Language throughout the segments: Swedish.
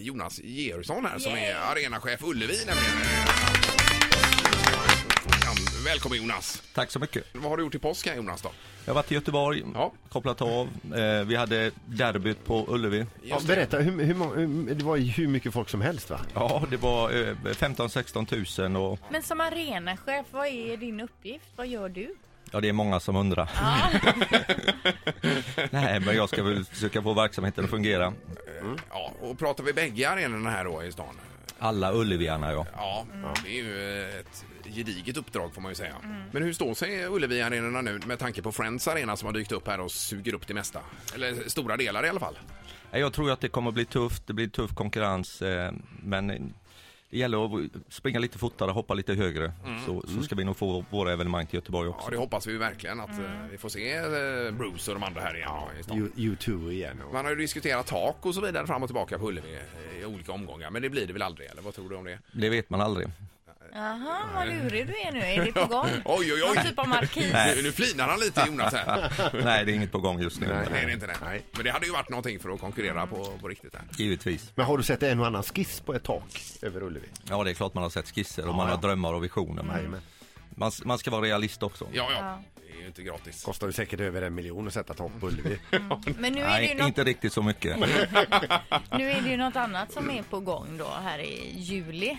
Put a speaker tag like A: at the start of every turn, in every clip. A: Jonas Georgsson här som
B: Yay!
A: är arenachef Ullevi nämligen. Ja, Välkommen Jonas!
C: Tack så mycket.
A: Vad har du gjort i påsk här Jonas då?
C: Jag har varit i Göteborg,
A: Ja.
C: kopplat av. Eh, vi hade derbyt på Ullevi.
D: Ja,
A: Just det.
D: berätta, hur, hur, många- hur, det var ju hur mycket folk som helst va?
C: Ja, det var eh, 15-16 000 och
B: Men som arenachef, vad är din uppgift? Vad gör du?
C: ja, det är många som undrar. Nej, men jag ska väl försöka få verksamheten att fungera.
A: Ja, och pratar vi bägge arenorna här då i stan?
C: Alla Ulleviarna, ja.
A: Ja, det är ju ett gediget uppdrag får man ju säga. Men hur står sig Ullevi-arenorna nu med tanke på Friends Arena som har dykt upp här och suger upp det mesta? Eller stora delar i alla fall.
C: Nej, Jag tror att det kommer att bli tufft, det blir tuff konkurrens, eh, men det gäller att springa lite fortare, hoppa lite högre, så, så ska vi nog få våra evenemang till Göteborg
A: Mm. Ja,
C: också.
A: det hoppas vi verkligen att eh, vi får se eh, Bruce och de andra här igen då i stan.
D: You- U2 igen. Och...
A: Man har ju diskuterat tak och så vidare fram och tillbaka på Ullevi i olika omgångar, men det blir det väl aldrig, eller vad tror du om det?
C: Det vet man aldrig.
B: Jaha, vad lurig du är nu. Är det på gång?
A: Oj, oj, oj!
B: Någon typ av markis?
C: Nej.
A: Nu, nu flinar han lite Jonas här.
C: Nej, det är inget på gång just nu.
A: Nej, det är inte det.
D: Nej.
A: Men det hade ju varit någonting för att konkurrera på, på riktigt här.
C: Givetvis.
D: Men har du sett en och annan skiss på ett tak över Ullevi?
C: Ja, det är klart man har sett skisser och man har drömmar och visioner. Men man, man ska vara realist också.
A: Ja, ja. Det är ju inte gratis.
D: Kostar ju säkert över en miljon att sätta tak på Ullevi.
B: Men nu är, det
C: Nej,
B: ju något,
C: inte riktigt så mycket.
B: nu är det ju något annat som är på gång då här i juli.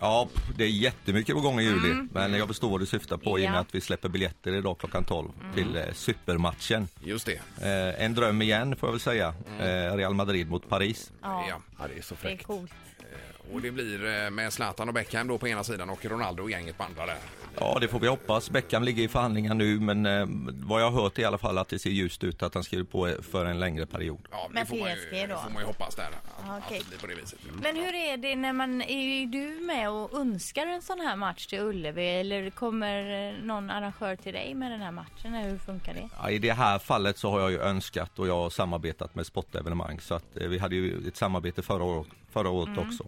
C: Ja, p- det är jättemycket på gång i juli. Men jag förstår vad du syftar på i och
B: Mm. Ja. Mm.
C: med att vi släpper biljetter idag klockan 12 till eh, supermatchen.
A: Just det.
C: Eh, en dröm igen får jag väl säga. Eh, Real Madrid mot Paris.
B: Ja,
A: Ja.
D: Ja, det är så
B: det är
D: fräckt.
B: coolt.
A: Och det blir eh, med Zlatan och Beckham då på ena sidan och Ronaldo och gänget på andra där.
C: Ja, det får vi hoppas. Beckham ligger i förhandlingar nu, men eh, vad jag har hört i alla fall att det ser ljust ut att han skriver på för en längre period.
A: Ja,
B: Men
A: det får man ju,
B: PSG då?
A: får man ju hoppas där. Att,
B: Ja, okej.
A: att det blir på det viset.
B: Men hur är det när man, är du med och önskar en sån här match till Ullevi eller kommer eh, någon arrangör till dig med den här matchen? Eller hur funkar det?
C: Ja, I det här fallet så har jag ju önskat och jag har samarbetat med sportevenemang så att eh, vi hade ju ett samarbete förra året, förra året också.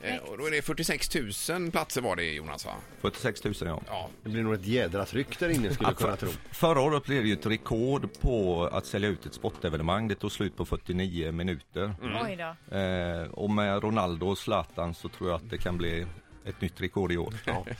A: Eh, Och då är det 46 000 platser var det Jonas va?
C: 46 000 ja.
A: Ja.
D: Det blir nog ett jädra tryck där inne skulle jag kunna tro.
C: Förra året blev det ju ett rekord på att sälja ut ett sportevenemang. Det tog slut på 49 minuter.
B: Oj då.
C: Eh, och med Ronaldo och Zlatan så tror jag att det kan bli ett nytt rekord i år.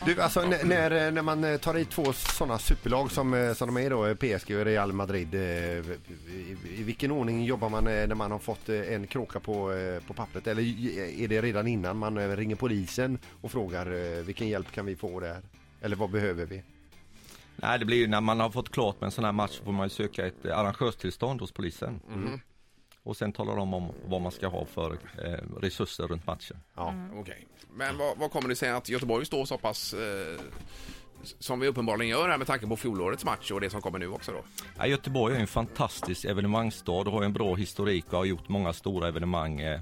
D: Du, alltså n- när, eh, när man eh, tar i två sådana superlag som, eh, som de är då, eh, PSG och Real Madrid. eh, I, i vilken ordning jobbar man eh, när man har fått eh, en kråka på, eh, på pappret? Eller eh, är det redan innan man eh, ringer polisen och frågar eh, vilken hjälp kan vi få där? Eller vad behöver vi?
C: Nej, det blir ju när man har fått klart med en sån här match så får man ju söka ett eh, arrangörstillstånd hos polisen. Och sen talar de om vad man ska ha för eh, resurser runt matchen.
D: Ja.
A: Mm. Okej. Men vad, vad kommer det sig att Göteborg står så pass eh, s- som vi uppenbarligen gör här med tanke på fjolårets match och det som kommer nu också då? Eh,
C: Ja, Göteborg är ju en fantastisk evenemangsstad och har ju en bra historik och har gjort många stora evenemang. eh.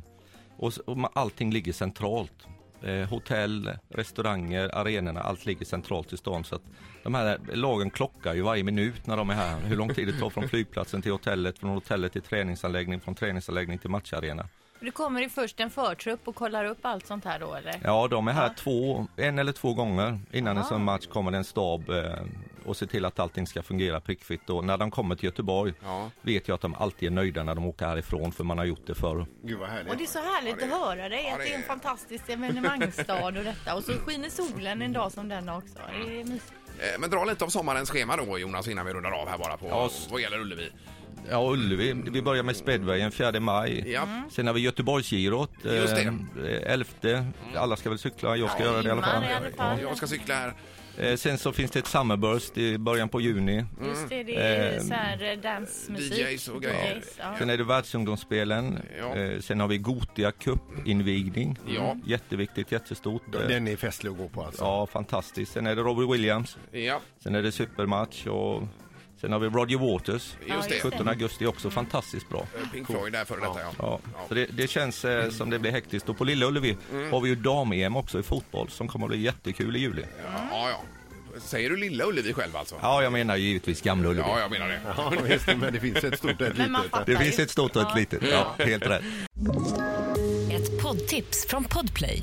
C: Och, s- och ma- allting ligger centralt. Eh, hotell, restauranger, arenorna, allt ligger centralt i stan. Så att de här lagen klockar ju varje minut när de är här. Hur lång tid det tar från flygplatsen till hotellet, från hotellet till träningsanläggning, från träningsanläggning till matcharena.
B: Du kommer det först en förtrupp och kollar upp allt sånt här då eller?
C: Ja, de är här två, en eller två gånger innan en sån match kommer det en stab eh, och ser till att allting ska fungera prickfritt. Och när de kommer till Göteborg
A: Ja.
C: vet jag att de alltid är nöjda när de åker härifrån för man har gjort det förr.
D: Gud vad
B: Och det är
D: härligt.
B: så härligt
A: Ja, det-
B: att höra dig,
A: ja,
B: att det är en
A: det- Mm.
B: fantastisk evenemangsstad och detta. Och så skiner solen en dag som denna också. Det är mysigt.
A: Eh, men dra lite av sommarens schema då Jonas innan vi rundar av här bara på
C: Ja, s-
A: vad gäller Ullevi.
C: Ja, Ullevi, vi börjar med Speedwayen 4 maj. Mm.
A: Ja.
C: Sen har vi Göteborgsgirot eh,
A: Just det. Mm.
C: eh, 11. Alla ska väl cykla, jag ska
A: Ja,
C: göra det i alla fall.
B: Ingemar i alla fall.
A: Jag ska cykla här.
C: Eh, sen så finns det ett Summerburst i början på juni.
A: Mm.
B: Just det, det är
C: Eh,
B: så här eh, dansmusik.
A: DJs och grejer.
B: DJs, ja.
C: Sen är det världsungdomsspelen.
A: Ja.
C: Eh, sen har vi Gotia Cup-invigning.
A: Ja.
C: Jätteviktigt, jättestort. Eh,
D: Den är festlig att gå på alltså.
C: Ja, fantastiskt. Sen är det Robbie Williams,
A: Ja,
C: sen är det supermatch och sen har vi Roger Waters.
A: just det. Mm.
B: just det.
C: 17 augusti också, fantastiskt bra.
A: Eh, Pink Floyd där före detta ja.
C: Ja, så det, det känns
A: Mm.
C: eh, som det blir hektiskt. Och på Lilla Ullevi har vi ju dam-EM också i fotboll som kommer att bli jättekul i juli.
A: Ja, ja. Säger du Lilla Ullevi själv alltså?
C: Ja, jag menar givetvis Gamla Ullevi.
A: Ja, jag menar det.
D: Ja, visst, men det finns ett stort och ett
B: Men man
D: litet.
B: fattar
C: Det finns
B: ju.
C: ett stort och ett
B: Ja.
C: litet. Ja, helt rätt.
E: Ett poddtips från Podplay.